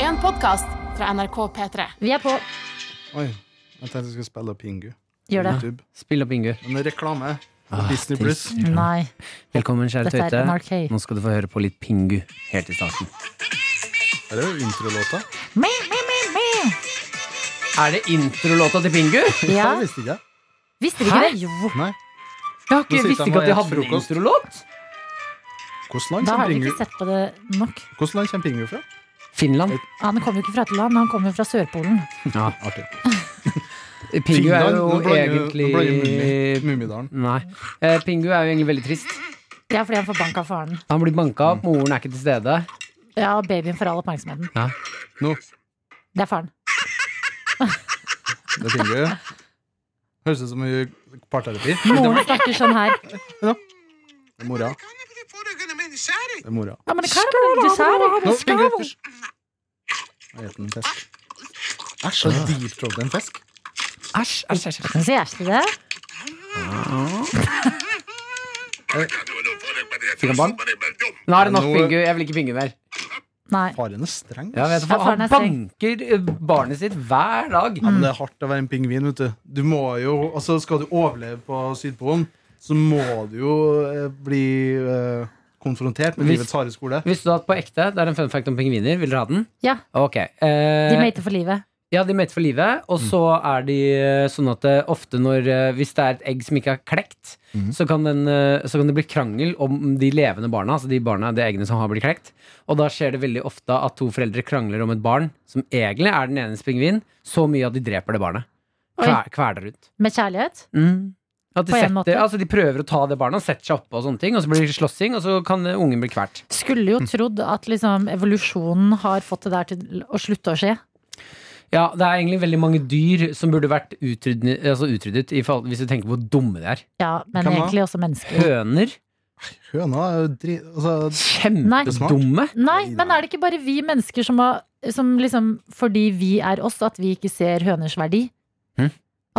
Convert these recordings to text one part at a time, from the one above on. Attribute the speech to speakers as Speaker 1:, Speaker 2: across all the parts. Speaker 1: en podkast fra NRK P3.
Speaker 2: Vi er på.
Speaker 3: Oi, jeg tenkte jeg skulle spille opp Pingu.
Speaker 2: Gjør det.
Speaker 3: YouTube.
Speaker 4: Spill opp Ingu.
Speaker 3: Men det er reklame. På
Speaker 4: Ah,
Speaker 3: Disney
Speaker 4: det-
Speaker 3: Pluss.
Speaker 2: Nei.
Speaker 4: Velkommen, kjære
Speaker 2: Dette er
Speaker 4: Tøyte.
Speaker 2: NRK.
Speaker 4: Nå skal du få høre på litt Pingu helt i starten.
Speaker 3: Er det jo introlåta?
Speaker 2: Me, me, me, me.
Speaker 4: Er det introlåta til Pingu?
Speaker 2: Ja.
Speaker 3: Jeg visste ikke jeg.
Speaker 2: Visste vi ikke
Speaker 4: Hæ?
Speaker 2: det? Jo.
Speaker 3: Nei.
Speaker 4: Jeg
Speaker 3: Nå
Speaker 4: har ikke,
Speaker 3: sitter
Speaker 4: visste
Speaker 3: han
Speaker 4: ikke
Speaker 3: og
Speaker 4: at de
Speaker 3: spiser
Speaker 4: hadde en
Speaker 3: frokost.
Speaker 4: introlåt.
Speaker 3: Hvordan land
Speaker 2: Da
Speaker 3: kommer
Speaker 2: har vi
Speaker 3: Pingu,
Speaker 2: ikke sett på det nok.
Speaker 3: hvordan land kommer Pingu fra?
Speaker 4: Finland.
Speaker 2: Han kommer jo ikke fra et land, han kommer jo fra Sørpolen.
Speaker 4: Ja.
Speaker 3: Artig.
Speaker 4: Pingu er jo
Speaker 3: Finland, nå blander- nå blander Mummi-
Speaker 4: egentlig
Speaker 3: Mummidalen.
Speaker 4: Nei. Eh, Pingu er jo egentlig veldig trist.
Speaker 2: Ja, fordi han får bank av faren.
Speaker 4: Han blir banka
Speaker 3: Mm.
Speaker 4: opp, moren er ikke til stede.
Speaker 2: Ja, og babyen får all oppmerksomheten.
Speaker 3: Nå,
Speaker 2: Det er faren.
Speaker 3: det er Pingu. Høres ut som i parterapi.
Speaker 2: Moren snakker sånn her.
Speaker 3: Det er mora. Det er mora.
Speaker 2: Ja, men det kan være dessert.
Speaker 3: Nå, Pingu, hysj. Jeg spiser en fisk. Æsj, så deep throat en fisk.
Speaker 4: Æsj, æsj, æsj.
Speaker 2: Men sier jeg det?
Speaker 4: Fikk han barn? Nå er det nok
Speaker 3: Nå-
Speaker 4: Pingu. Jeg vil ikke Pingu mer.
Speaker 2: Nei.
Speaker 3: Faren er streng.
Speaker 4: Ja, vet du, hva?
Speaker 2: Ja, faren
Speaker 4: han
Speaker 2: er streng. Mm.
Speaker 4: banker eh, barnet sitt hver dag.
Speaker 3: Ja, men det er hardt å være en pingvin, vet du. du må jo, altså skal du overleve på Sydpolen, så må du jo eh, bli eh, konfrontert med
Speaker 4: Hvis-
Speaker 3: livets harde skole.
Speaker 4: Visste du at på ekte, det er en fun fact om pingviner, vil dere ha den?
Speaker 2: Ja,
Speaker 4: Ok. eh,
Speaker 2: de mater for livet.
Speaker 4: Ja, de mater for livet, og så er de eh, sånn at eh, ofte når eh, Hvis det er et egg som ikke er klekt, så, kan den, eh, så kan det bli krangel om de levende barna, altså de barna, de eggene som har blitt klekt. Og da skjer det veldig ofte at to foreldre krangler om et barn som egentlig er den enes pingvin, så mye at de dreper det barnet.
Speaker 2: Oi.
Speaker 4: Kver, kveler ut.
Speaker 2: Med kjærlighet.
Speaker 4: At de,
Speaker 2: På en
Speaker 4: setter,
Speaker 2: måte.
Speaker 4: altså de prøver å ta det barnet og setter seg oppå og sånne ting, og så blir det slåssing, og så kan eh, ungen bli kvert.
Speaker 2: Skulle
Speaker 4: Hm.
Speaker 2: jo trodd at liksom, evolusjonen har fått det der til å slutte å skje.
Speaker 4: Ja, det er egentlig veldig mange dyr som burde vært utryddet, altså utryddet i forhold, hvis du tenker på hvor dumme de er.
Speaker 2: Ja, men
Speaker 3: Hvem da?
Speaker 2: egentlig også mennesker.
Speaker 4: Høner.
Speaker 3: Høna er jo dri... Altså,
Speaker 4: Kjempedumme.
Speaker 2: Nei, men er det ikke bare vi mennesker som har som liksom, Fordi vi er oss, at vi ikke ser høners verdi?
Speaker 4: Hm?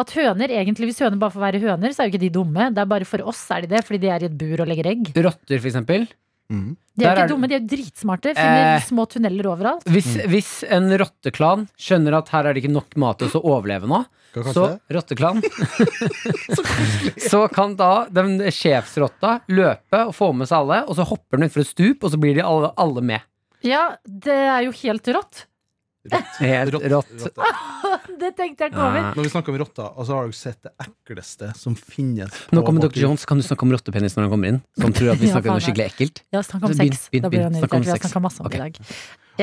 Speaker 2: At høner, egentlig Hvis høner bare får være høner, så er jo ikke de dumme. Det er bare for oss er de det, fordi de er i et bur og legger egg.
Speaker 4: Rotter, for eksempel.
Speaker 3: mm.
Speaker 2: De er jo
Speaker 4: Der er
Speaker 2: ikke
Speaker 4: det-
Speaker 2: dumme, de er jo dritsmarte. Finner
Speaker 4: Eh.
Speaker 2: små tunneler overalt.
Speaker 4: Hvis,
Speaker 3: Mm.
Speaker 4: hvis en rotteklan skjønner at her er det ikke nok mat til å overleve nå,
Speaker 3: Hva kalte
Speaker 4: så
Speaker 3: det?
Speaker 4: rotteklan Så kan da den sjefsrotta løpe og få med seg alle, og så hopper den utfor et stup, og så blir de alle, alle med.
Speaker 2: Ja, det er jo helt rått.
Speaker 4: Helt
Speaker 3: Rott-
Speaker 4: rått.
Speaker 3: rotta.
Speaker 2: Det tenkte jeg ikke
Speaker 4: Ah.
Speaker 2: over.
Speaker 3: Når vi snakker om rotta, altså, har dere sett det ekleste som finnes?
Speaker 4: Nå
Speaker 3: på
Speaker 4: kommer
Speaker 3: vårt
Speaker 4: Dr. Jones, kan du snakke om rottepenis når han kommer inn? Så han tror at vi
Speaker 2: Ja,
Speaker 4: snakker om noe
Speaker 2: faen,
Speaker 4: skikkelig ekkelt.
Speaker 2: Ja, snakk om
Speaker 4: Så begynn,
Speaker 2: sex.
Speaker 4: begynn,
Speaker 2: Da blir
Speaker 4: begynn.
Speaker 2: han
Speaker 4: Snakk om
Speaker 2: irritert. Vi har
Speaker 4: sex.
Speaker 2: snakka masse om det i
Speaker 4: Ok.
Speaker 2: dag.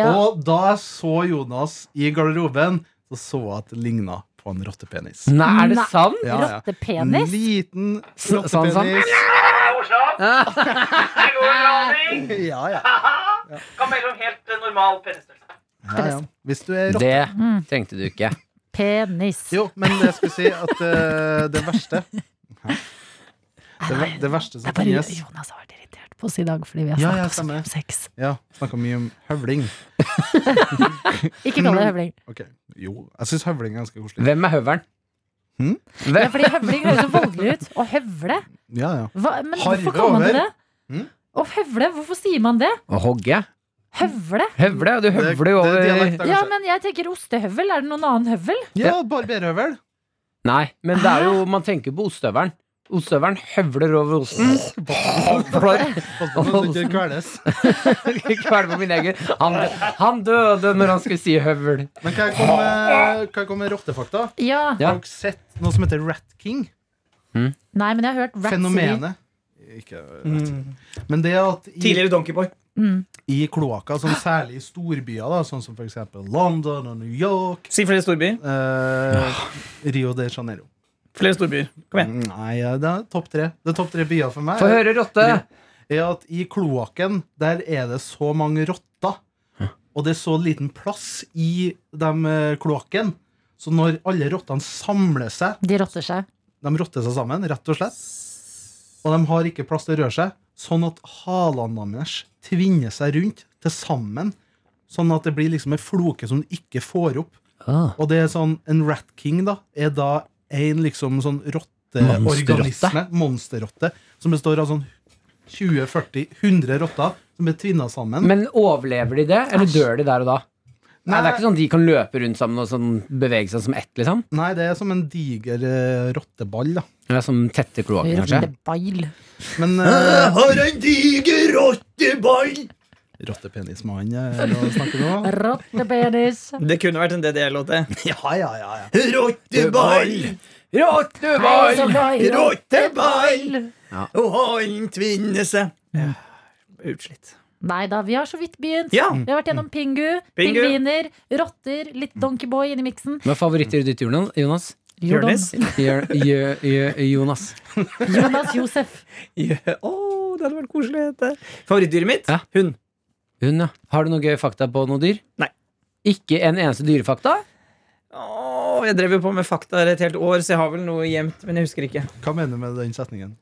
Speaker 2: Ja,
Speaker 3: Og da jeg så Jonas i garderoben, så så jeg at det ligna på en rottepenis.
Speaker 4: Nei, er det
Speaker 2: Nei.
Speaker 4: sant?
Speaker 3: Ja, ja. En
Speaker 2: Rottepenis?
Speaker 3: liten
Speaker 4: Sa- sa han sånn?
Speaker 3: rottepenis.
Speaker 4: Ah,
Speaker 3: Ja, ja.
Speaker 5: Kan melde om helt eh, normal penisstørrelse.
Speaker 3: ja, ja. Hvis du er rotte
Speaker 4: Det
Speaker 2: Mm.
Speaker 4: trengte du ikke.
Speaker 2: Penis.
Speaker 3: Jo, men det jeg skulle si at eh, det verste det, ver- det verste
Speaker 2: Det
Speaker 3: som
Speaker 2: er bare
Speaker 3: finnes
Speaker 2: Jonas har vært irritert på oss i dag fordi vi har
Speaker 3: Ja,
Speaker 2: snakket så
Speaker 3: ja,
Speaker 2: mye
Speaker 3: stemmer.
Speaker 2: om sex.
Speaker 3: Ja, snakka mye om høvling.
Speaker 2: Ikke kall det høvling.
Speaker 3: Ok, Jo, jeg syns høvling er ganske koselig.
Speaker 4: Hvem er høveren?
Speaker 3: Hm?
Speaker 2: Ja,
Speaker 4: Hvem?
Speaker 2: fordi høvling høres så voldelig ut. Å høvle?
Speaker 3: Ja, ja.
Speaker 2: Hva, men
Speaker 3: Harve
Speaker 2: hvorfor kaller man det
Speaker 3: over.
Speaker 2: det?
Speaker 3: Mm?
Speaker 2: Å høvle, hvorfor sier man det?
Speaker 4: Å hogge?
Speaker 2: Høvle?
Speaker 4: Høvle? Du høvler jo
Speaker 3: Det- det er
Speaker 4: over
Speaker 3: dialekt, da,
Speaker 2: Ja,
Speaker 3: kanskje.
Speaker 2: men jeg tenker ostehøvel. Er det noen annen høvel?
Speaker 3: ja, barberhøvel.
Speaker 4: Nei, men det er jo Man tenker på ostehøvelen. Ostehøvelen høvler over osten. Høvler.
Speaker 3: Pass på så du ikke kveles.
Speaker 4: Kveler på min egen. Han, han døde når han skulle si høvel.
Speaker 3: Men kan jeg komme med, kan jeg komme med rottefakta?
Speaker 2: Ja.
Speaker 4: Ja.
Speaker 3: Har dere sett noe som heter Rat King?
Speaker 2: Nei, men jeg har hørt rats
Speaker 3: Fenomenet. Ikke Rat King. Men det at i,
Speaker 5: Tidligere Donkeyboy.
Speaker 3: i kloakka, sånn særlig i storbyer, da, sånn som f.eks. London og New York,
Speaker 5: Si flere storbyer.
Speaker 3: eh, Rio de Janeiro
Speaker 5: Flere storbyer. Kom igjen.
Speaker 3: Nei, ja, det er topp tre. Det er topp tre byer for meg.
Speaker 4: Få høre, rotte.
Speaker 3: Er at I kloakken der er det så mange rotter, og det er så liten plass i dem eh, kloakken. Så når alle rottene samler seg,
Speaker 2: De rotter seg.
Speaker 3: de rotter seg sammen, rett og slett, og de har ikke plass til å røre seg, sånn at halene deres tvinner seg rundt til sammen. Sånn at det blir liksom en floke som du ikke får opp. Og det er sånn, en rat king da er da en liksom sånn rotteorganisme, monsterrotte, som består av sånn 20-40-100 rotter som er tvinna sammen.
Speaker 4: Men overlever de det, eller dør de der og da? Nei, det er ikke sånn de kan løpe rundt sammen og sånn bevege seg som ett, liksom?
Speaker 3: Nei, det er som en diger eh, rotteball, da.
Speaker 4: Ja, som sånn tette kloakken, kanskje?
Speaker 2: Rottebeil.
Speaker 3: Men eh,
Speaker 4: har en diger rotteball!
Speaker 3: Rottepenismann eh, er det å snakke nå?
Speaker 2: Rottepenis.
Speaker 6: Mm. Det kunne vært en DDE-låt, det.
Speaker 3: Ja, ja, ja, ja.
Speaker 4: Rotteball!
Speaker 2: Hei, så
Speaker 4: Rotteball!
Speaker 2: bra,
Speaker 6: Rotteball!
Speaker 4: Ja.
Speaker 6: Og han tvinner seg. Ja. Utslitt. Mm.
Speaker 2: Nei da, vi har så vidt begynt.
Speaker 6: Ja.
Speaker 2: Vi har vært gjennom pingu,
Speaker 6: Pingu.
Speaker 2: pingviner, rotter, litt Donkeyboy inni miksen.
Speaker 4: Hva er favorittdyret ditt, Jonas? Jonas?
Speaker 6: Jonis?
Speaker 4: Jør- Jø- Jø- Jonas.
Speaker 2: Jonas Josef.
Speaker 6: Ja. Åh, det hadde vært koselig å hete. Favorittdyret mitt?
Speaker 4: Ja.
Speaker 6: Hund.
Speaker 4: Hun, ja. Har du noe gøy fakta på noe dyr?
Speaker 6: Nei.
Speaker 4: Ikke en eneste dyrefakta?
Speaker 6: Åh, jeg drev jo på med fakta et helt år, så jeg har vel noe gjemt, men jeg husker ikke.
Speaker 3: Hva mener du med den setningen?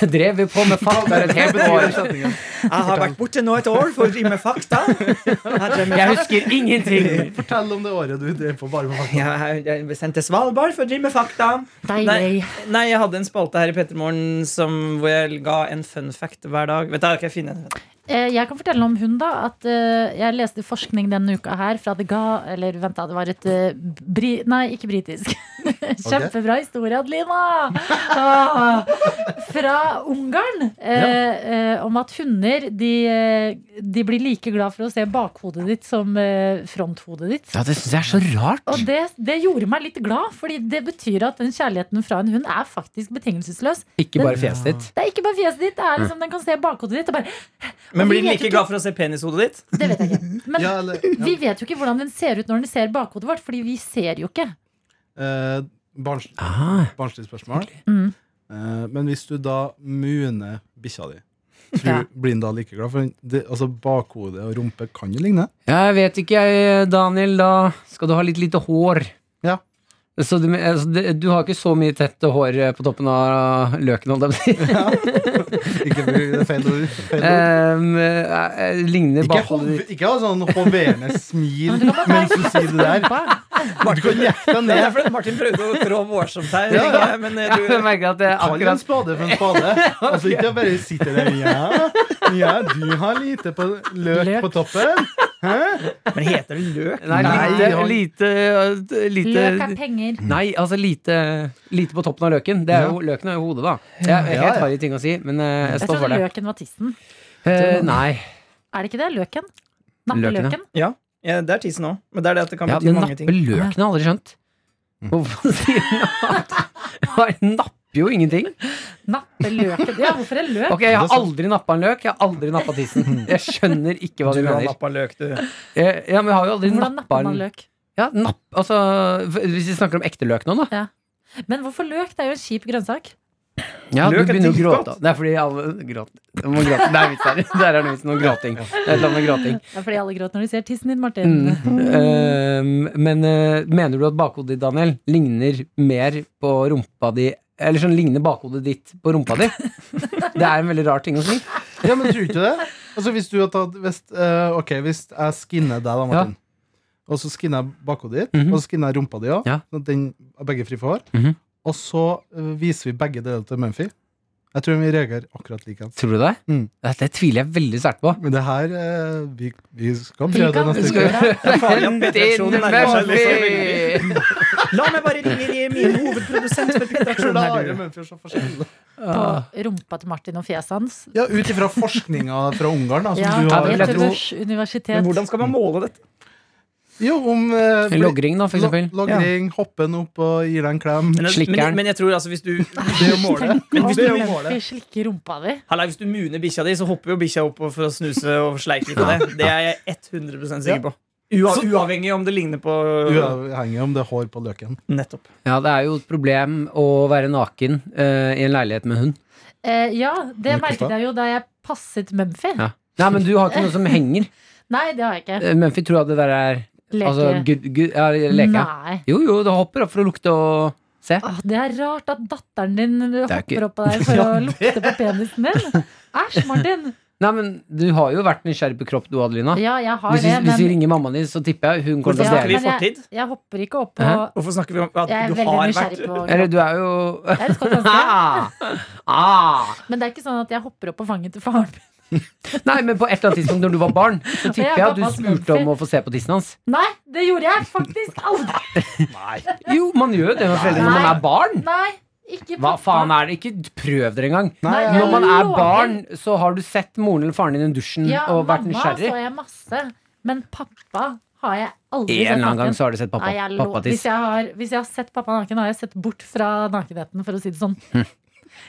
Speaker 4: Drev vi på med fakta et helt år?
Speaker 6: Jeg har vært borte nå et år for å drive med fakta. Jeg drev med
Speaker 4: Jeg husker ingenting!
Speaker 3: Fortell om det året du drev på bare med fakta.
Speaker 6: Jeg, jeg ble sendt til Svalbard for å drive med fakta.
Speaker 2: Deilig.
Speaker 6: Nei, jeg hadde en spalte her i Pettermorgen som- hvor jeg ga en fun fact hver dag. Vet du, jeg kan finne en.
Speaker 2: Eh, Jeg kan fortelle om hun, da. At eh, jeg leste forskning denne uka her fra The Ga... Eller vent, da. Det var et eh, bri... Nei, ikke britisk. Kjempebra historie, Adelina! Ah, fra Ungarn. eh, eh, Om at hunder de, eh, de blir like glad for å se bakhodet ditt som eh, fronthodet ditt.
Speaker 4: Ja, det syns jeg er så rart.
Speaker 2: Og det, det gjorde meg litt glad, Fordi det betyr at den kjærligheten fra en hund er faktisk betingelsesløs.
Speaker 4: Ikke bare fjeset ditt.
Speaker 2: Det er ikke bare fjeset ditt, det er liksom den kan se bakhodet ditt. Og bare,
Speaker 6: Men
Speaker 2: Vi
Speaker 6: blir den
Speaker 2: vet
Speaker 6: like
Speaker 2: ikke-
Speaker 6: glad for å se penishodet ditt?
Speaker 2: Det vet jeg ikke. Men
Speaker 3: Ja, eller,
Speaker 2: vi vet jo ikke hvordan den ser ut når den ser bakhodet vårt, fordi vi ser jo ikke.
Speaker 3: eh, barns,
Speaker 4: Ah,
Speaker 3: barnslig spørsmål.
Speaker 2: Mm.
Speaker 3: Eh, men hvis du da muner bikkja di, tror,
Speaker 2: Ja.
Speaker 3: blir den da like glad? For den- det, altså, bakhode og rumpe kan jo ligne.
Speaker 4: jeg vet ikke, jeg, Daniel. Da skal du ha litt lite hår.
Speaker 3: Ja.
Speaker 4: Så du, men- altså, det- du har ikke så mye tett hår eh, på toppen av løken, holdt jeg på å si.
Speaker 3: Ikke bruk det feil ord. Feil ord.
Speaker 4: Ehm, eh, eh, Ligner
Speaker 3: Ikke,
Speaker 4: bakhodet
Speaker 3: hov,
Speaker 4: ditt.
Speaker 3: ikke ha sånn hoverende smil
Speaker 2: Men du kan bare ta
Speaker 3: mens du sier det der. Du kan jekke deg
Speaker 6: Det er
Speaker 3: ned.
Speaker 6: fordi Martin prøvde å trå voldsomt her.
Speaker 3: Ja, ja.
Speaker 6: ikke? Men eh,
Speaker 4: Ja, jeg
Speaker 6: du,
Speaker 4: merker at det er
Speaker 3: Kall en
Speaker 4: akkurat
Speaker 3: spade for en spade. Altså Ikke bare sitter der Ja, ja du har lite på løk,
Speaker 2: Løk.
Speaker 3: på toppen.
Speaker 6: men heter det løk?
Speaker 4: Nei,
Speaker 3: Nei,
Speaker 4: lite,
Speaker 3: han-
Speaker 4: lite, eh,
Speaker 2: Løk
Speaker 4: lite
Speaker 2: er penger.
Speaker 4: Nei, altså lite, lite på toppen av løken. Det er jo, løken er jo hodet, da. Jeg
Speaker 3: Ja,
Speaker 4: er helt
Speaker 3: ja.
Speaker 4: harry ting å si, men eh, jeg
Speaker 2: Jeg
Speaker 4: står for
Speaker 2: trodde
Speaker 4: det.
Speaker 2: løken var tissen.
Speaker 4: Eh, nei.
Speaker 2: Er det ikke det? Løken?
Speaker 4: Løken, ja.
Speaker 2: Nappeløken?
Speaker 6: Ja, ja det er tissen òg. Men det er det at det kan
Speaker 4: Ja,
Speaker 6: bety
Speaker 4: men
Speaker 6: mange ting.
Speaker 4: nappeløken har jeg aldri skjønt. Hvorfor sier han at Han napper jo ingenting.
Speaker 2: Nappeløken. Ja, hvorfor er løk?
Speaker 4: Ok, Jeg har aldri nappa en løk. Jeg har aldri nappa tissen. Jeg skjønner ikke hva du
Speaker 6: Du har
Speaker 4: mener.
Speaker 6: nappa løk, du.
Speaker 4: Eh, Ja, men jeg har jo aldri
Speaker 2: Hvordan
Speaker 4: nappa
Speaker 2: napper man
Speaker 4: en
Speaker 2: løk?
Speaker 4: Ja, napp, altså, Hvis vi snakker om ekte løk nå, da.
Speaker 2: Men hvorfor løk? Det er jo en kjip grønnsak.
Speaker 4: Ja,
Speaker 6: Løk
Speaker 4: du
Speaker 6: er
Speaker 4: begynner å
Speaker 6: dritgodt.
Speaker 4: gråte. Det er fordi alle gråter. Det må gråte. Det er vits her. Der er det vits noe gråting. Det er et eller annet med gråting.
Speaker 2: Det er fordi alle gråter når de ser tissen din, Martin.
Speaker 4: Mm.
Speaker 6: Mhm.
Speaker 4: Ehm, men eh, mener du at bakhodet ditt, Daniel, ligner mer på rumpa di Eller sånn ligner bakhodet ditt på rumpa di? Det er en veldig rar ting å si.
Speaker 3: Ja, men tror du ikke det? Altså Hvis du har tatt hvis, eh, Ok, hvis jeg skinner deg, da, Martin. Og så skinner jeg bakhodet ditt,
Speaker 4: Mhm.
Speaker 3: og så skinner jeg rumpa di òg.
Speaker 4: Ja.
Speaker 3: Sånn at den er begge fri for hår.
Speaker 4: Mhm.
Speaker 3: Og så eh, viser vi begge deler til Mumphy. Jeg tror vi reagerer akkurat likeens.
Speaker 4: Tror du det?
Speaker 3: Mm.
Speaker 4: Det, det tviler jeg veldig sterkt på.
Speaker 3: Men det her eh, vi, vi skal
Speaker 2: Vi
Speaker 3: prøve det
Speaker 2: kan-
Speaker 3: neste
Speaker 2: vi
Speaker 3: uke.
Speaker 2: skal-
Speaker 6: Det er farlig at
Speaker 4: Din
Speaker 6: Petterson nærmer seg liksom.
Speaker 4: Mumphy!
Speaker 6: La meg bare ringe min hovedprodusent for Petterson her, du.
Speaker 4: Ah,
Speaker 2: På rumpa til Martin og fjeset hans.
Speaker 3: Ja, Ut ifra forskninga fra Ungarn, da, som
Speaker 2: Ja,
Speaker 3: Altså, du
Speaker 4: Ja,
Speaker 3: har
Speaker 4: det vil jeg tro.
Speaker 2: Göteborgs universitet.
Speaker 6: Men hvordan skal man måle dette?
Speaker 3: Jo, om eh, bli-
Speaker 4: Logring, da, for eksempel.
Speaker 3: lo- Logring, hoppe den opp og gi deg en klem.
Speaker 6: Men, jeg-
Speaker 4: Slikkeren.
Speaker 6: men, men jeg tror altså hvis du
Speaker 3: Det er jo målet.
Speaker 6: Men hvis
Speaker 2: Om
Speaker 6: du
Speaker 2: Mumphy
Speaker 6: måler
Speaker 2: slikker rumpa di.
Speaker 6: Halla, hvis du muner bikkja di, så hopper jo bikkja opp for å snuse og sleike litt på det. Det er jeg 100 sikker på. Ua uavhengig om det ligner på
Speaker 3: Uavhengig om det er hår på løken.
Speaker 6: Nettopp.
Speaker 4: Ja, det er jo et problem å være naken eh, i en leilighet med hund.
Speaker 2: Eh, ja, det
Speaker 3: Hvilken
Speaker 2: merket
Speaker 3: da?
Speaker 2: jeg jo da jeg passet Mumphy.
Speaker 4: Ja. Nei, men du har ikke noe som henger.
Speaker 2: Nei, det har jeg ikke.
Speaker 4: Eh, Mumphy tror at det der er
Speaker 2: Leke.
Speaker 4: Altså, gud, gud, ja, leke. ja.
Speaker 2: Nei.
Speaker 4: Jo, jo, det hopper opp for å lukte og se.
Speaker 2: Åh, Ah, det er rart at datteren din eh, hopper
Speaker 4: ikke-
Speaker 2: opp på deg for å lukte på penisen din. Æsj, Martin.
Speaker 4: Nei, men Du har jo vært nysgjerrig på kropp, du, Adelina.
Speaker 2: Ja, jeg har
Speaker 4: Hvis vi,
Speaker 2: det,
Speaker 4: hvis vi
Speaker 2: men
Speaker 4: ringer mammaen din, så tipper jeg hun kommer til
Speaker 6: Hvorfor
Speaker 4: å
Speaker 6: snakker
Speaker 4: dele.
Speaker 6: vi
Speaker 2: men jeg-
Speaker 6: fortid?
Speaker 2: Jeg hopper ikke opp på
Speaker 4: Hæ?
Speaker 6: Hvorfor snakker vi om at
Speaker 2: Jeg er
Speaker 6: du
Speaker 2: veldig
Speaker 6: har vært
Speaker 2: nysgjerrig på
Speaker 4: Eller du er jo
Speaker 2: Jeg er et godt ganske.
Speaker 4: ah, ah.
Speaker 2: Men det er ikke sånn at jeg hopper opp på fanget til faren min.
Speaker 4: Nei, men på et eller annet tidspunkt når du var barn, så tipper jeg at du spurte om å få se på tissen hans.
Speaker 2: Nei, det gjorde jeg faktisk aldri!
Speaker 4: Jo, man gjør jo det med foreldre når man er barn.
Speaker 2: Nei, ikke
Speaker 4: Hva
Speaker 2: pappa.
Speaker 4: faen er det? Ikke prøv dere engang.
Speaker 2: Nei,
Speaker 3: Nei,
Speaker 2: jeg
Speaker 4: Når man er
Speaker 2: lover.
Speaker 4: barn, så har du sett moren eller faren din i dusjen
Speaker 2: Ja,
Speaker 4: og vært
Speaker 2: mamma
Speaker 4: nysgjerrig.
Speaker 2: så jeg masse, men pappa har jeg aldri
Speaker 4: En
Speaker 2: sett
Speaker 4: eller annen gang
Speaker 2: naken.
Speaker 4: så har du sett pappa.
Speaker 2: Nei, jeg lo- hvis,
Speaker 4: Pappatiss.
Speaker 2: jeg har, hvis jeg har sett pappa naken, har jeg sett bort fra nakenheten, for å si det sånn.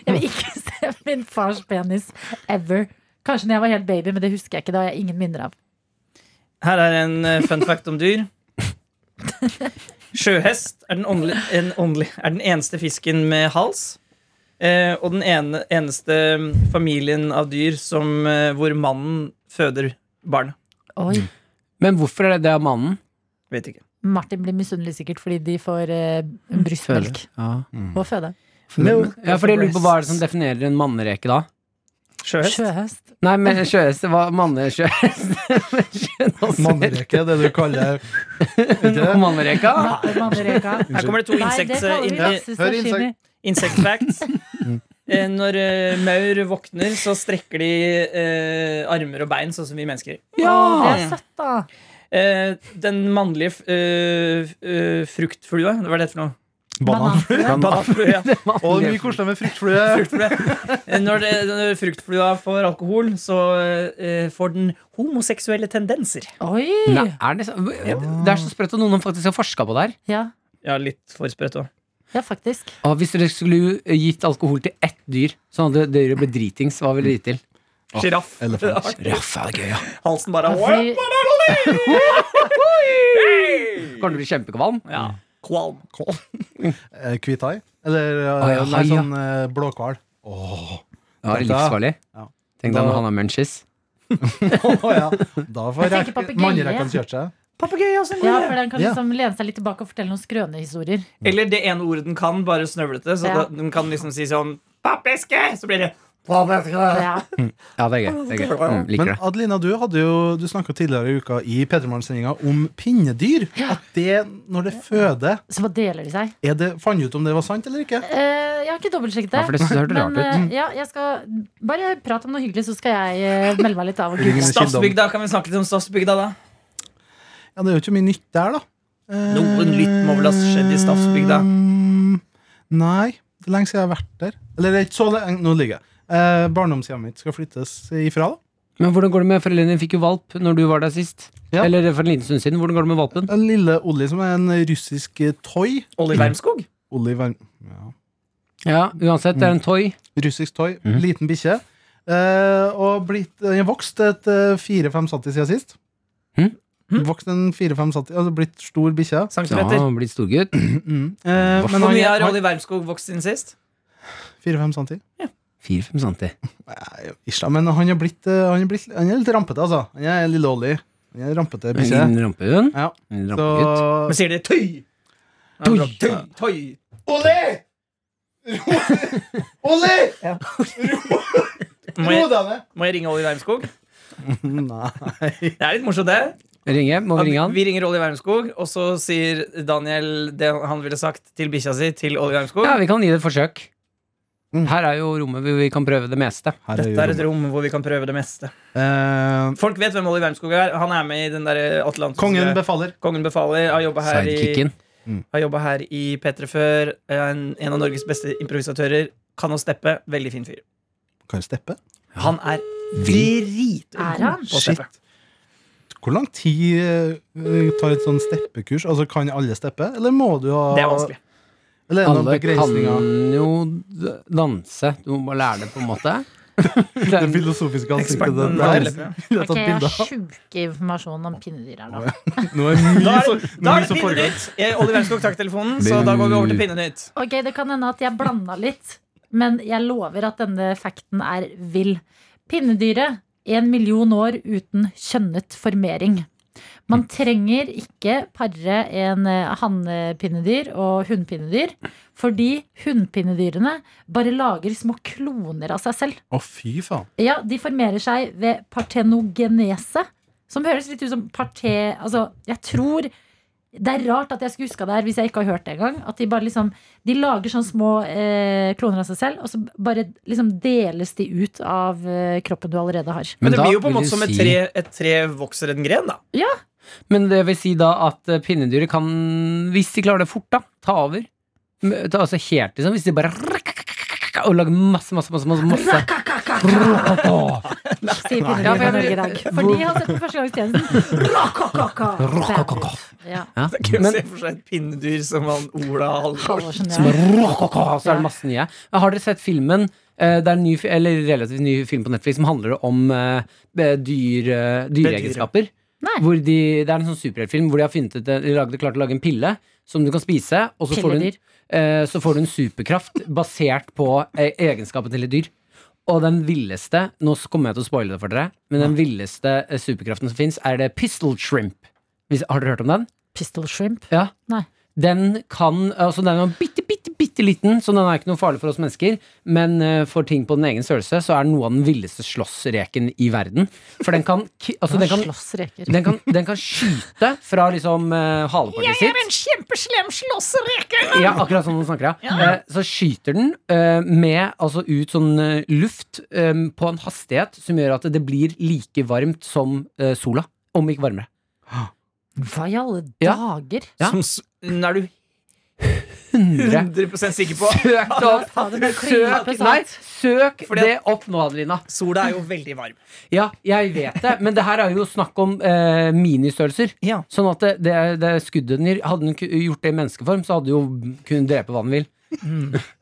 Speaker 2: Jeg vil ikke se min fars penis ever. Kanskje når jeg var helt baby, men det husker jeg ikke. Det har jeg ingen minner av.
Speaker 6: Her er en eh, fun fact om dyr. Sjøhest er den, åndelig, en åndelig, er den eneste fisken med hals. eh, og den ene, eneste mm, familien av dyr som, eh, hvor mannen føder barn.
Speaker 2: Oi,
Speaker 4: Men hvorfor er det det av mannen?
Speaker 6: Vet ikke.
Speaker 2: Martin blir misunnelig sikkert fordi de får eh, brystmelk
Speaker 4: Ja.
Speaker 2: på føde.
Speaker 6: Milk
Speaker 4: ja,
Speaker 6: of
Speaker 4: for jeg lurer på hva er det
Speaker 6: breasts.
Speaker 4: som definerer en mannereke da?
Speaker 6: Sjøhest?
Speaker 2: Sjøhest.
Speaker 4: Nei, men sjøhest, hva mannesjøhest?
Speaker 3: Mannereke, det du kaller Ikke det?
Speaker 4: Mannereka?
Speaker 2: Mannereka.
Speaker 6: Her kommer det to eh,
Speaker 2: Nei, det
Speaker 6: insekt,
Speaker 2: kaller vi
Speaker 6: in,
Speaker 2: laksestashimi.
Speaker 3: Hør insekt.
Speaker 6: insect facts. Eh, Når eh, maur våkner, så strekker de eh, armer og bein, sånn som vi mennesker.
Speaker 2: Å,
Speaker 4: Ah!
Speaker 2: Det er søtt, da.
Speaker 6: Eh, den mannlige f- eh, f- eh, fruktflua, hva er det for noe?
Speaker 3: Banan.
Speaker 6: Bananflue, ja.
Speaker 3: Og det er mye koselig med fruktflue.
Speaker 6: Eh, Når, det, når fruktflua får alkohol, så eh, får den homoseksuelle tendenser.
Speaker 2: Oi!
Speaker 4: Nei, er det, så, det er så sprøtt at noen faktisk har forska på det her.
Speaker 2: Ja.
Speaker 6: Ja, litt for sprøtt òg.
Speaker 2: ja, faktisk.
Speaker 4: Og hvis dere skulle gitt alkohol til ett dyr, så hadde dyret blitt dritings. Hva ville dere gitt til?
Speaker 6: Sjiraff.
Speaker 3: elefant.
Speaker 4: Raff er gøy, ja.
Speaker 6: Halsen bare
Speaker 2: Fordi,
Speaker 4: Kommer til å bli kjempekvalm.
Speaker 6: ja. Kvalm.
Speaker 3: Eh, Kvithai? Eller eh,
Speaker 4: Å, ja,
Speaker 3: nei,
Speaker 4: hai, ja.
Speaker 3: sånn eh, blåhval. Åh.
Speaker 4: Ja, det er livsfarlig.
Speaker 3: Ja.
Speaker 4: Tenk deg om han har munchies.
Speaker 3: Å, ja. Da får
Speaker 2: Jeg tenker
Speaker 3: rek-
Speaker 2: papegøye.
Speaker 3: mannerekene kjørt seg.
Speaker 6: Papegøye er også en god
Speaker 2: ja,
Speaker 6: idé.
Speaker 2: for den kan
Speaker 3: Ja.
Speaker 2: liksom lene seg litt tilbake og fortelle noen skrønehistorier.
Speaker 6: Eller det ene ordet den kan, bare snøvlete. Så
Speaker 2: Ja.
Speaker 6: da, den kan liksom si sånn Pappeske! Så blir det
Speaker 2: Ja.
Speaker 4: Ja, det er gøy. Det er gøy. Mm, liker
Speaker 3: Men
Speaker 4: det.
Speaker 3: Adelina, du, hadde jo, du snakka tidligere i uka i P3morgen-sendinga om pinnedyr. At det, når det føder
Speaker 2: Så hva deler de seg?
Speaker 3: er det, Fant du ut om det var sant eller ikke?
Speaker 2: Eh, jeg har ikke dobbeltsjekket
Speaker 4: Ja, for det hørte rart
Speaker 2: Men
Speaker 4: ut.
Speaker 2: eh, ja, jeg skal bare prate om noe hyggelig, så skal jeg eh, melde meg litt av. Og google.
Speaker 3: Ingen kilde om-
Speaker 6: Stadsbygda. Kan vi snakke litt om Stadsbygda, da?
Speaker 3: Ja, det er jo ikke mye nytt der, da. Eh,
Speaker 6: Noen lytt må vel ha skjedd i Stadsbygda?
Speaker 3: mm, Nei. Det er lenge siden jeg har vært der. Eller det er ikke så lenge. Nå ligger jeg. Eh, barndomshjemmet mitt skal flyttes ifra, da.
Speaker 4: Men hvordan går det med foreldrene dine? Fikk jo valp når du var der sist.
Speaker 3: Ja.
Speaker 4: Eller for en liten stund siden. Hvordan går det med valpen?
Speaker 3: En Eh, lille Olli, som er en russisk eh, toy.
Speaker 6: Olli Wermskog?
Speaker 3: Olli var ja.
Speaker 4: Ja, uansett, det er en toy.
Speaker 3: Russisk toy. Liten bikkje. Eh, og blitt, den har vokst et eh, fire-fem centi siden sist.
Speaker 4: Mhm.
Speaker 3: Vokst en fire-fem centi, altså blitt stor bikkje.
Speaker 4: Ja,
Speaker 6: Centimeter.
Speaker 4: han blir storgutt.
Speaker 3: Mm. Eh, men
Speaker 6: Hvor
Speaker 3: han
Speaker 6: mye har
Speaker 3: er
Speaker 6: Olli Wermskog vokst siden sist?
Speaker 3: fire-fem centi.
Speaker 4: 4-5 centi.
Speaker 3: Nei, Ish, da, men han er blitt, eh, han er blitt han er litt rampete, altså. Han er lille Olli. Han er en rampete
Speaker 4: En
Speaker 3: bikkje.
Speaker 4: liten rampehund.
Speaker 3: Ja.
Speaker 4: En liten
Speaker 3: Så
Speaker 4: rampegutt.
Speaker 6: Men sier det tøy?
Speaker 4: Tøy.
Speaker 6: Tøy, tøy.
Speaker 3: Olli! Olli!
Speaker 6: Må
Speaker 3: Ro
Speaker 6: jeg,
Speaker 3: deg ned!
Speaker 6: må jeg ringe Olli Wermskog?
Speaker 3: Nei.
Speaker 6: Det er litt morsomt, det.
Speaker 4: Ringe? Må vi ringe han?
Speaker 6: Vi ringer Olli Wermskog, og så sier Daniel det han ville sagt til bikkja si, til Olli Wermskog.
Speaker 4: Ja, vi kan gi det et forsøk.
Speaker 3: Mm.
Speaker 4: Her er jo rommet hvor vi kan prøve det meste.
Speaker 3: Her
Speaker 6: Dette er
Speaker 3: er
Speaker 6: et
Speaker 3: jo
Speaker 6: rom hvor vi kan prøve det meste.
Speaker 3: eh,
Speaker 6: Folk vet hvem Olli Wermskog er. Han er med i den der Atlantis
Speaker 3: Kongen befaler.
Speaker 6: Kongen befaler. Har jobba her, i-
Speaker 4: Sidekicken.
Speaker 6: har jobbet her i P3 før. Er En, en av Norges beste improvisatører. Kan å steppe. Veldig fin fyr.
Speaker 3: Kan jeg steppe?
Speaker 6: Han er
Speaker 4: Vill.
Speaker 2: Er han?
Speaker 6: dritgod på å
Speaker 3: Shit.
Speaker 6: steppe.
Speaker 3: Hvor lang tid eh, tar et sånn steppekurs? Altså, Kan alle steppe, eller må du ha
Speaker 6: Det er vanskelig.
Speaker 3: Eller er det noen
Speaker 4: Alle kan
Speaker 3: begrensninger?
Speaker 4: jo d- danse. Du må bare lære det, på en måte. Det
Speaker 3: Det
Speaker 4: er-
Speaker 3: filosofiske ansiktet
Speaker 6: Eksperten
Speaker 3: ditt
Speaker 6: har
Speaker 3: der.
Speaker 6: lepper.
Speaker 3: Jeg har
Speaker 2: Ok,
Speaker 3: tatt
Speaker 2: jeg har
Speaker 3: bilde av.
Speaker 2: sjuk informasjon om pinnedyr her nå.
Speaker 3: Nå er det
Speaker 6: Da
Speaker 3: mye
Speaker 6: er
Speaker 3: som
Speaker 6: det, da er det
Speaker 3: mye som foregår.
Speaker 6: Pinnenytt. Eh, Olli Wermskog takk telefonen, så da går vi over til Pinnenytt.
Speaker 2: Ok, Det kan hende at jeg blanda litt, men jeg lover at denne fakten er vill. Pinnedyret en million år uten kjønnet formering. Man trenger ikke pare en eh, hannpinnedyr og hunnpinnedyr, fordi hunnpinnedyrene bare lager små kloner av seg selv.
Speaker 3: Å, fy faen.
Speaker 2: Ja, de formerer seg ved partenogenese, som høres litt ut som parte... Altså, jeg tror Det er rart at jeg skulle huska det her hvis jeg ikke har hørt det engang. At de bare liksom De lager sånne små eh, kloner av seg selv, og så bare liksom deles de ut av eh, kroppen du allerede har.
Speaker 6: Men, det
Speaker 4: da
Speaker 6: blir jo på en
Speaker 4: vil
Speaker 6: måte
Speaker 4: du
Speaker 6: som et
Speaker 4: si-
Speaker 6: tre, et tre vokser en gren, da.
Speaker 4: Men det vil si da at eh, pinnedyret kan, hvis de klarer det fort, da, ta over. M- Ta altså helt liksom, hvis de bare og lager masse, masse, masse, masse, masse.
Speaker 2: Sier
Speaker 4: Ja,
Speaker 2: pinnedyret
Speaker 4: for jeg
Speaker 2: i Norge i
Speaker 4: vil-
Speaker 2: dag. For de har sett på førstegangstjenesten. Rokokoko!
Speaker 4: Rokokoko.
Speaker 2: Ja.
Speaker 4: Ja.
Speaker 6: Det er gøy å
Speaker 4: Men
Speaker 6: se for seg et pinnedyr som han Ola Halvorsen.
Speaker 2: Halvorsen,
Speaker 4: som
Speaker 2: ja.
Speaker 4: bare rokoko, så er det masse nye. Men Har dere sett filmen? eh, Det er en ny, fi- eller relativt ny film på Netflix som handler om eh, be- dyr, eh, dyreegenskaper.
Speaker 2: Nei.
Speaker 4: Hvor de, det er en sånn superheltfilm hvor de har funnet ut, de lagde, klart å lage en pille som du kan spise, og så får du en
Speaker 2: Pilledyr.
Speaker 4: eh, så får du en superkraft basert på eh, egenskapen til et dyr. Og den villeste Nå s- kommer jeg til å spoile det for dere, men den villeste eh, superkraften som fins, er det pistol shrimp. Hvis, har dere hørt om den?
Speaker 2: Pistol shrimp.
Speaker 4: Ja.
Speaker 2: Nei.
Speaker 4: Den kan Altså, den er bitte, bitte, bitte liten, så den er ikke noe farlig for oss mennesker. Men eh, for ting på den egen størrelse, så er den noe av den villeste slåssreken i verden. For den kan ki- Altså, den kan
Speaker 2: Slåssreker.
Speaker 4: den kan, den kan skyte fra liksom eh, halepartiet sitt. Jeg er en kjempeslem slåssereke! Ja, akkurat sånn den snakker, ja. Eh, så skyter den eh, med altså ut sånn eh, luft eh, på en hastighet som gjør at det blir like varmt som eh, sola. Om ikke varmere.
Speaker 2: Hva i alle
Speaker 4: Ja.
Speaker 2: dager?
Speaker 4: Ja.
Speaker 6: Som s- Nå er du
Speaker 4: 100
Speaker 6: 100 sikker på.
Speaker 4: Søk det opp!
Speaker 2: Ta det med
Speaker 4: Søk,
Speaker 2: klype
Speaker 4: nei,
Speaker 2: salt.
Speaker 4: søk
Speaker 6: Fordi-
Speaker 4: det opp nå, Adelina.
Speaker 6: Sola er jo veldig varm.
Speaker 4: Ja, jeg vet det, men det her er jo snakk om eh, ministørrelser.
Speaker 6: Ja.
Speaker 4: Sånn at det, det, det skuddet den gir Hadde den ku- gjort det i menneskeform, så hadde den jo kunnet drepe hva den vil.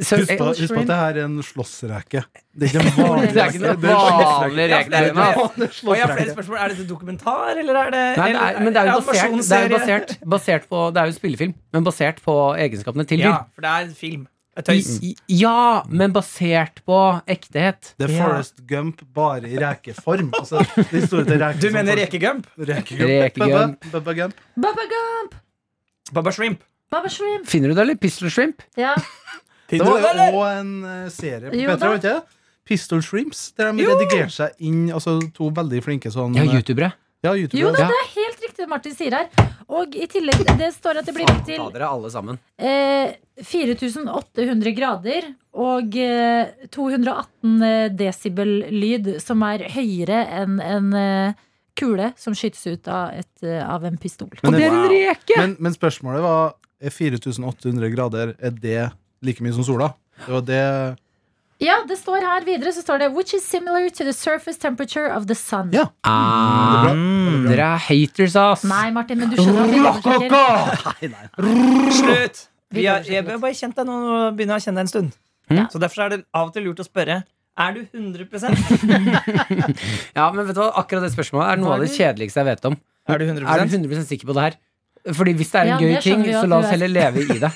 Speaker 4: Så,
Speaker 3: Husk på,
Speaker 4: eh,
Speaker 3: husk på at det her er en slåssreke. Det er ikke en vanlig
Speaker 4: det er ikke
Speaker 3: reke, det er
Speaker 4: noe
Speaker 3: en
Speaker 4: vanlig altså. regler.
Speaker 6: Ja, det er-
Speaker 4: Nei,
Speaker 6: Og jeg har flere spørsmål. Er dette dokumentar, eller er det
Speaker 4: det er, men det er jo
Speaker 6: eller
Speaker 4: basert, det er jo
Speaker 6: animasjonsserie?
Speaker 4: basert, basert på Det er jo spillefilm, men basert på egenskapene til
Speaker 6: Ja,
Speaker 4: dyr.
Speaker 6: for det er en film. Det er tøys.
Speaker 4: I- i- Ja, men basert på ektehet.
Speaker 3: Det er Forest Gump bare i rekeform. Altså, de store til reke
Speaker 6: Du
Speaker 3: som
Speaker 6: mener
Speaker 3: Forrest-
Speaker 4: Sånn-
Speaker 6: rekegump?
Speaker 3: Rekegump.
Speaker 4: Rekegump.
Speaker 3: Bubba- Bubba Gump.
Speaker 2: Baba Gump!
Speaker 6: Baba Shrimp.
Speaker 2: Baba shrimp!
Speaker 4: Finner du det, eller? Pistol shrimp?
Speaker 2: Ja.
Speaker 3: Det var jo òg en eh, serie på
Speaker 2: Jo
Speaker 3: Petra,
Speaker 2: da.
Speaker 3: vet du. Pistol Shrimps, der de redigerte seg inn Altså to veldig flinke sånn
Speaker 4: Ja, youtubere.
Speaker 3: Ja, YouTube,
Speaker 2: Jo da,
Speaker 4: Ja.
Speaker 2: det er helt riktig det Martin sier her. Og i tillegg, det står at det blir opp til
Speaker 4: Ta dere alle sammen.
Speaker 2: eh, 4800 grader og eh, 218 eh, desibel-lyd, som er høyere enn en eh, kule som skytes ut av, et, eh, av en pistol.
Speaker 3: Men
Speaker 4: Og det
Speaker 3: det-
Speaker 4: er en reke!
Speaker 3: Men, men spørsmålet var er 4800 grader Er det like mye som sola? Det var det
Speaker 2: Ja, det står her videre, så står det Which is similar to the surface temperature of the sun.
Speaker 3: Ja.
Speaker 4: Ah, dere er haters, ass.
Speaker 2: Nei, Martin, men du skjønner at vi undersøker.
Speaker 3: Nei, nei.
Speaker 6: Slutt!
Speaker 2: Vi
Speaker 6: Vi har,
Speaker 2: går
Speaker 6: jeg har bare kjent deg nå og begynner å kjenne deg en stund.
Speaker 4: Ja.
Speaker 6: Så derfor er det av og til lurt å spørre Er du 100
Speaker 4: Ja, men vet du hva, akkurat det spørsmålet er noe av det kjedeligste jeg vet om.
Speaker 6: Er du
Speaker 4: Er
Speaker 6: 100
Speaker 4: du 100 sikker på det her? Fordi hvis det er en
Speaker 2: Ja,
Speaker 4: gøy
Speaker 2: det
Speaker 4: ting,
Speaker 2: skjønner vi jo
Speaker 4: så
Speaker 2: at
Speaker 4: la
Speaker 2: du
Speaker 4: oss
Speaker 2: er.
Speaker 4: heller leve i det.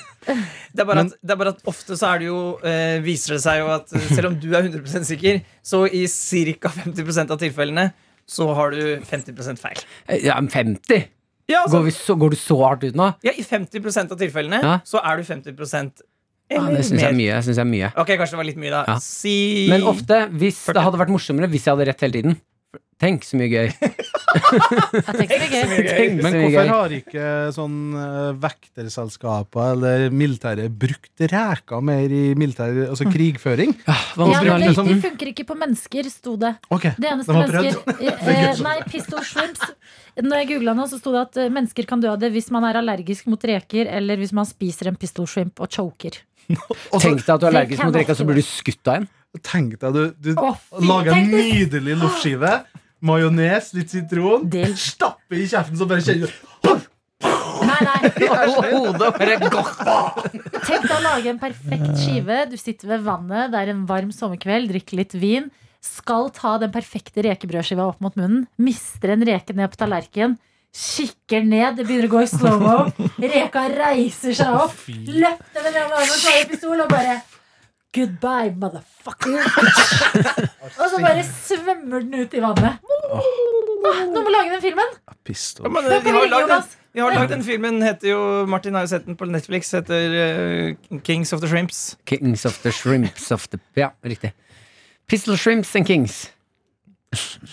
Speaker 6: Det er bare at, det er bare at ofte så er det jo eh, viser det seg jo at eh, selv om du er 100 sikker, så i ca. 50 av tilfellene så har du 50 feil.
Speaker 4: Ja, men 50!
Speaker 6: Ja, altså,
Speaker 4: Går, vi så, går du så hardt ut nå?
Speaker 6: ja I 50 av tilfellene
Speaker 4: Ja.
Speaker 6: så er du 50
Speaker 4: Ja,
Speaker 6: eller
Speaker 4: det syns jeg er
Speaker 6: mer.
Speaker 4: mye. det Synes jeg er mye.
Speaker 6: Ok, kanskje det var litt mye, da.
Speaker 4: Ja.
Speaker 6: Si
Speaker 4: Men ofte, hvis det
Speaker 6: 40.
Speaker 4: hadde vært morsommere hvis jeg hadde rett hele tiden. Tenk så mye gøy.
Speaker 2: Jeg tenker det er gøy.
Speaker 6: eh,
Speaker 4: Tenk så
Speaker 3: Men
Speaker 4: mye
Speaker 3: hvorfor
Speaker 4: gøy.
Speaker 3: har ikke sånn eh, vekterselskaper eller militæret brukt reker mer i militær altså krigføring?
Speaker 2: Ja,
Speaker 4: Ja,
Speaker 2: men
Speaker 4: Vanskelig å være
Speaker 2: det,
Speaker 4: liten.
Speaker 2: de funker ikke på mennesker, sto det.
Speaker 3: Ok,
Speaker 2: Det eneste
Speaker 3: de har prøvd.
Speaker 2: mennesker eh, Nei, pistol shrimps. Når jeg googla nå, så sto det at eh, mennesker kan dø av det hvis man er allergisk mot reker, eller hvis man spiser en pistol shrimp og choker.
Speaker 3: Og så
Speaker 4: Tenk deg at du er
Speaker 2: Det
Speaker 4: allergisk
Speaker 2: kan
Speaker 4: mot reka,
Speaker 2: også
Speaker 4: så blir du skutt av en.
Speaker 3: tenk deg, du, du
Speaker 2: Å, fy,
Speaker 3: lager en
Speaker 2: tenk det.
Speaker 3: nydelig loffskive, majones, litt sitron,
Speaker 2: Del.
Speaker 3: stapper i kjeften, så bare kjenner du
Speaker 2: Nei, nei.
Speaker 4: Hodet bare går.
Speaker 2: Tenk deg å lage en perfekt skive. Du sitter ved vannet, det er en varm sommerkveld, drikker litt vin. Skal ta den perfekte rekebrødskiva opp mot munnen. Mister en reke ned på tallerkenen. Kikker ned, det begynner å gå i slow-mo. Reka reiser seg opp, løfter den ene armen, tar en pistol og bare Goodbye, motherfucker. og så bare svømmer den ut i vannet. Åh, nå må vi lage den filmen.
Speaker 3: Pistol.
Speaker 6: Ja, men,
Speaker 2: Da
Speaker 6: eh,
Speaker 2: kan
Speaker 6: vi
Speaker 2: vi
Speaker 6: har
Speaker 2: ringe
Speaker 6: lagd den,
Speaker 2: Jonas.
Speaker 6: vi har lagd den filmen heter jo, Martin har jo sett den på Netflix. Heter eh, Kings of the Shrimps.
Speaker 4: Kings of the shrimps of the Ja, riktig. Pistol shrimps and kings.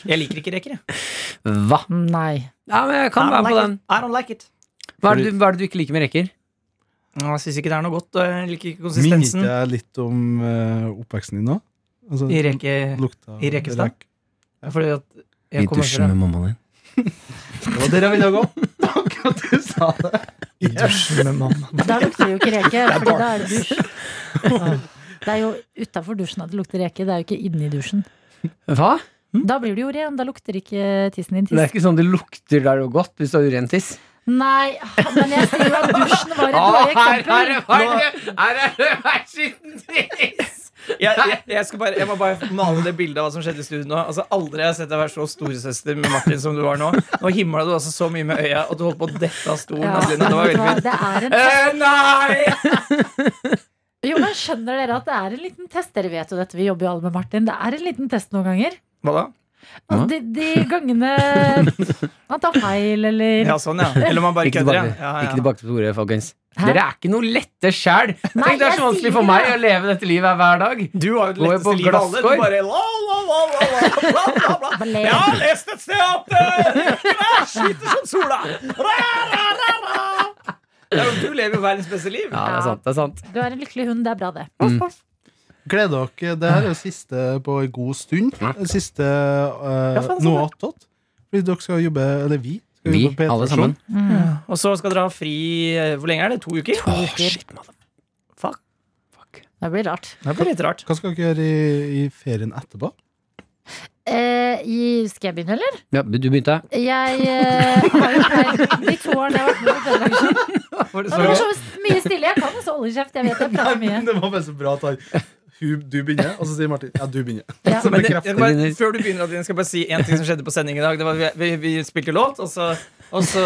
Speaker 6: Jeg liker ikke reker, jeg.
Speaker 4: Hva?
Speaker 2: Nei.
Speaker 4: Ja, men jeg kan
Speaker 6: I don't
Speaker 4: være med på
Speaker 6: like
Speaker 4: den.
Speaker 6: it. I don't like it.
Speaker 4: Hva er, det, du- hva er det du ikke liker med reker?
Speaker 6: Nå, Jeg syns ikke det er noe godt. og Jeg liker ikke
Speaker 3: Minnet
Speaker 6: konsistensen
Speaker 3: jeg litt om eh, oppveksten din nå? Altså,
Speaker 6: i reke...
Speaker 3: lukta
Speaker 6: i Rekestad?
Speaker 3: rek.
Speaker 6: Fordi at jeg kommer fra
Speaker 4: mammaen din.
Speaker 3: Det var der jeg ville gå. Takk at du sa det. I dusjen med mamma.
Speaker 2: Da lukter det jo ikke reke, fordi da er det dusj. Det er jo utafor dusjen at det lukter reke, det er jo ikke inni dusjen.
Speaker 4: Hva?
Speaker 6: Mm.
Speaker 2: Da blir det jo ren, da lukter ikke tissen din
Speaker 4: Det er
Speaker 2: tiss.
Speaker 4: ikke sånn det lukter der og godt hvis du har uren tiss.
Speaker 2: Nei, men jeg sier jo at dusjen var et dårlig eksempel.
Speaker 4: her er det hver skitten tiss!
Speaker 6: jeg, jeg, jeg, skal bare, jeg må bare male det bildet av hva som skjedde i studio nå. Altså, aldri har jeg sett deg være så storesøster med Martin som du var nå. Nå himla du altså så mye med øya at du holdt på å dette av stolen.
Speaker 2: Ja,
Speaker 6: Adeline. Det var veldig fint.
Speaker 2: det er en
Speaker 4: Eh, nei!
Speaker 2: Jo, men skjønner dere at det er en liten test? Dere vet jo dette, vi jobber jo alle med Martin. Det er en liten test noen ganger.
Speaker 6: Hva da?
Speaker 2: Altså, de, de gangene han tar feil, eller
Speaker 6: Ja, sånn, ja. Eller om han bare
Speaker 4: Ikke
Speaker 6: kødder.
Speaker 4: tilbake,
Speaker 6: Ja. Ja,
Speaker 4: ikke
Speaker 6: ja.
Speaker 4: tilbake til Tore, folkens.
Speaker 2: Hæ?
Speaker 4: Dere er ikke noe lette sjæl.
Speaker 2: Nei,
Speaker 4: Tenk, det er
Speaker 2: jeg
Speaker 4: så vanskelig
Speaker 2: sier
Speaker 4: for
Speaker 2: ikke
Speaker 4: meg
Speaker 2: det.
Speaker 4: å leve dette livet her hver dag.
Speaker 6: Du har jo det
Speaker 4: Går jo på
Speaker 6: letteste livet av alle.
Speaker 4: glasskår.
Speaker 6: Du bare la, la, la, la, la, bla, bla, bla.
Speaker 2: Ballet.
Speaker 6: Jeg har lest et sted at uh, sliter som sola! Ra, ra, ra, ra. Ja, men du lever jo verdens beste liv.
Speaker 4: Ja, det er sant. det er sant
Speaker 2: Du er en lykkelig hund, det er bra, det.
Speaker 6: Mm.
Speaker 3: Gleder dere Det her er jo siste på en god stund. Siste eh, noe attåt. Fordi dere skal jobbe Eller vi. Skal
Speaker 4: Vi,
Speaker 3: jobbe på P3
Speaker 4: alle sammen.
Speaker 6: Og så skal dere ha fri eh, Hvor lenge er det? To uker?
Speaker 4: Åh, shit, mother-
Speaker 6: Fuck.
Speaker 2: Det blir rart.
Speaker 6: Det blir litt rart.
Speaker 3: Hva skal dere gjøre i, i ferien etterpå?
Speaker 2: Eh, i, skal jeg begynne, eller?
Speaker 4: Ja, du begynte?
Speaker 2: Jeg eh, har jo pleid de to årene jeg har vært med på Trøndelagsjøen.
Speaker 6: Var det
Speaker 2: Det
Speaker 6: så
Speaker 2: var
Speaker 6: godt?
Speaker 2: så mye stille. Jeg kan også holde kjeft. Jeg vet jeg prater mye.
Speaker 3: det var bare så bra at han- hun- du begynner, og så sier Martin ja, du begynner.
Speaker 2: Ja.
Speaker 3: Så
Speaker 6: Men det, jeg
Speaker 3: bekrefter
Speaker 6: bare,
Speaker 4: Linus.
Speaker 6: før du begynner, Adeline, skal jeg bare si en ting som skjedde på sending i dag. Det var, vi, vi, vi spilte låt, og så, og så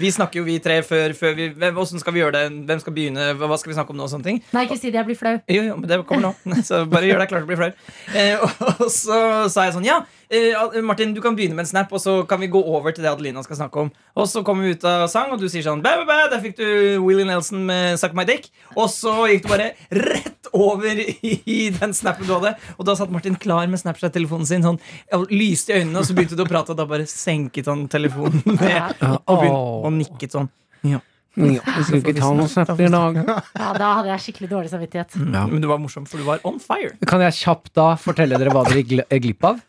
Speaker 6: Vi snakker jo, vi tre, før, før vi hvem, Hvordan skal vi gjøre det? Hvem skal begynne? Hva hva skal vi snakke om nå? og Sånne ting.
Speaker 2: Nei, ikke si det. Jeg blir flau.
Speaker 6: Jo, jo, men det kommer nå. Så bare gjør deg klar til å bli flau. Eh, og, og så sa jeg sånn Ja, eh, Ad- Martin, du kan begynne med en snap, og så kan vi gå over til det Adelina skal snakke om. Og så kommer vi ut av sang, og du sier sånn bæ, bæ, bæ, Der fikk du Willie Nelson med Suck My Dick. Og så gikk du bare rett over i, i den snappen du hadde. Og da satt Martin klar med Snapchat-telefonen sin, sånn ja, lyste i øynene, og så begynte du å prate, og da bare senket han telefonen ned og, begynte, og nikket sånn. Ja.
Speaker 4: Mm. Ja, vi skal ikke ta noen snapper i dag.
Speaker 2: Ja, da hadde jeg skikkelig dårlig samvittighet.
Speaker 6: Men du var morsom, for du var on fire.
Speaker 4: Kan jeg kjapt da fortelle dere hva dere gikk gl- eh, glipp av?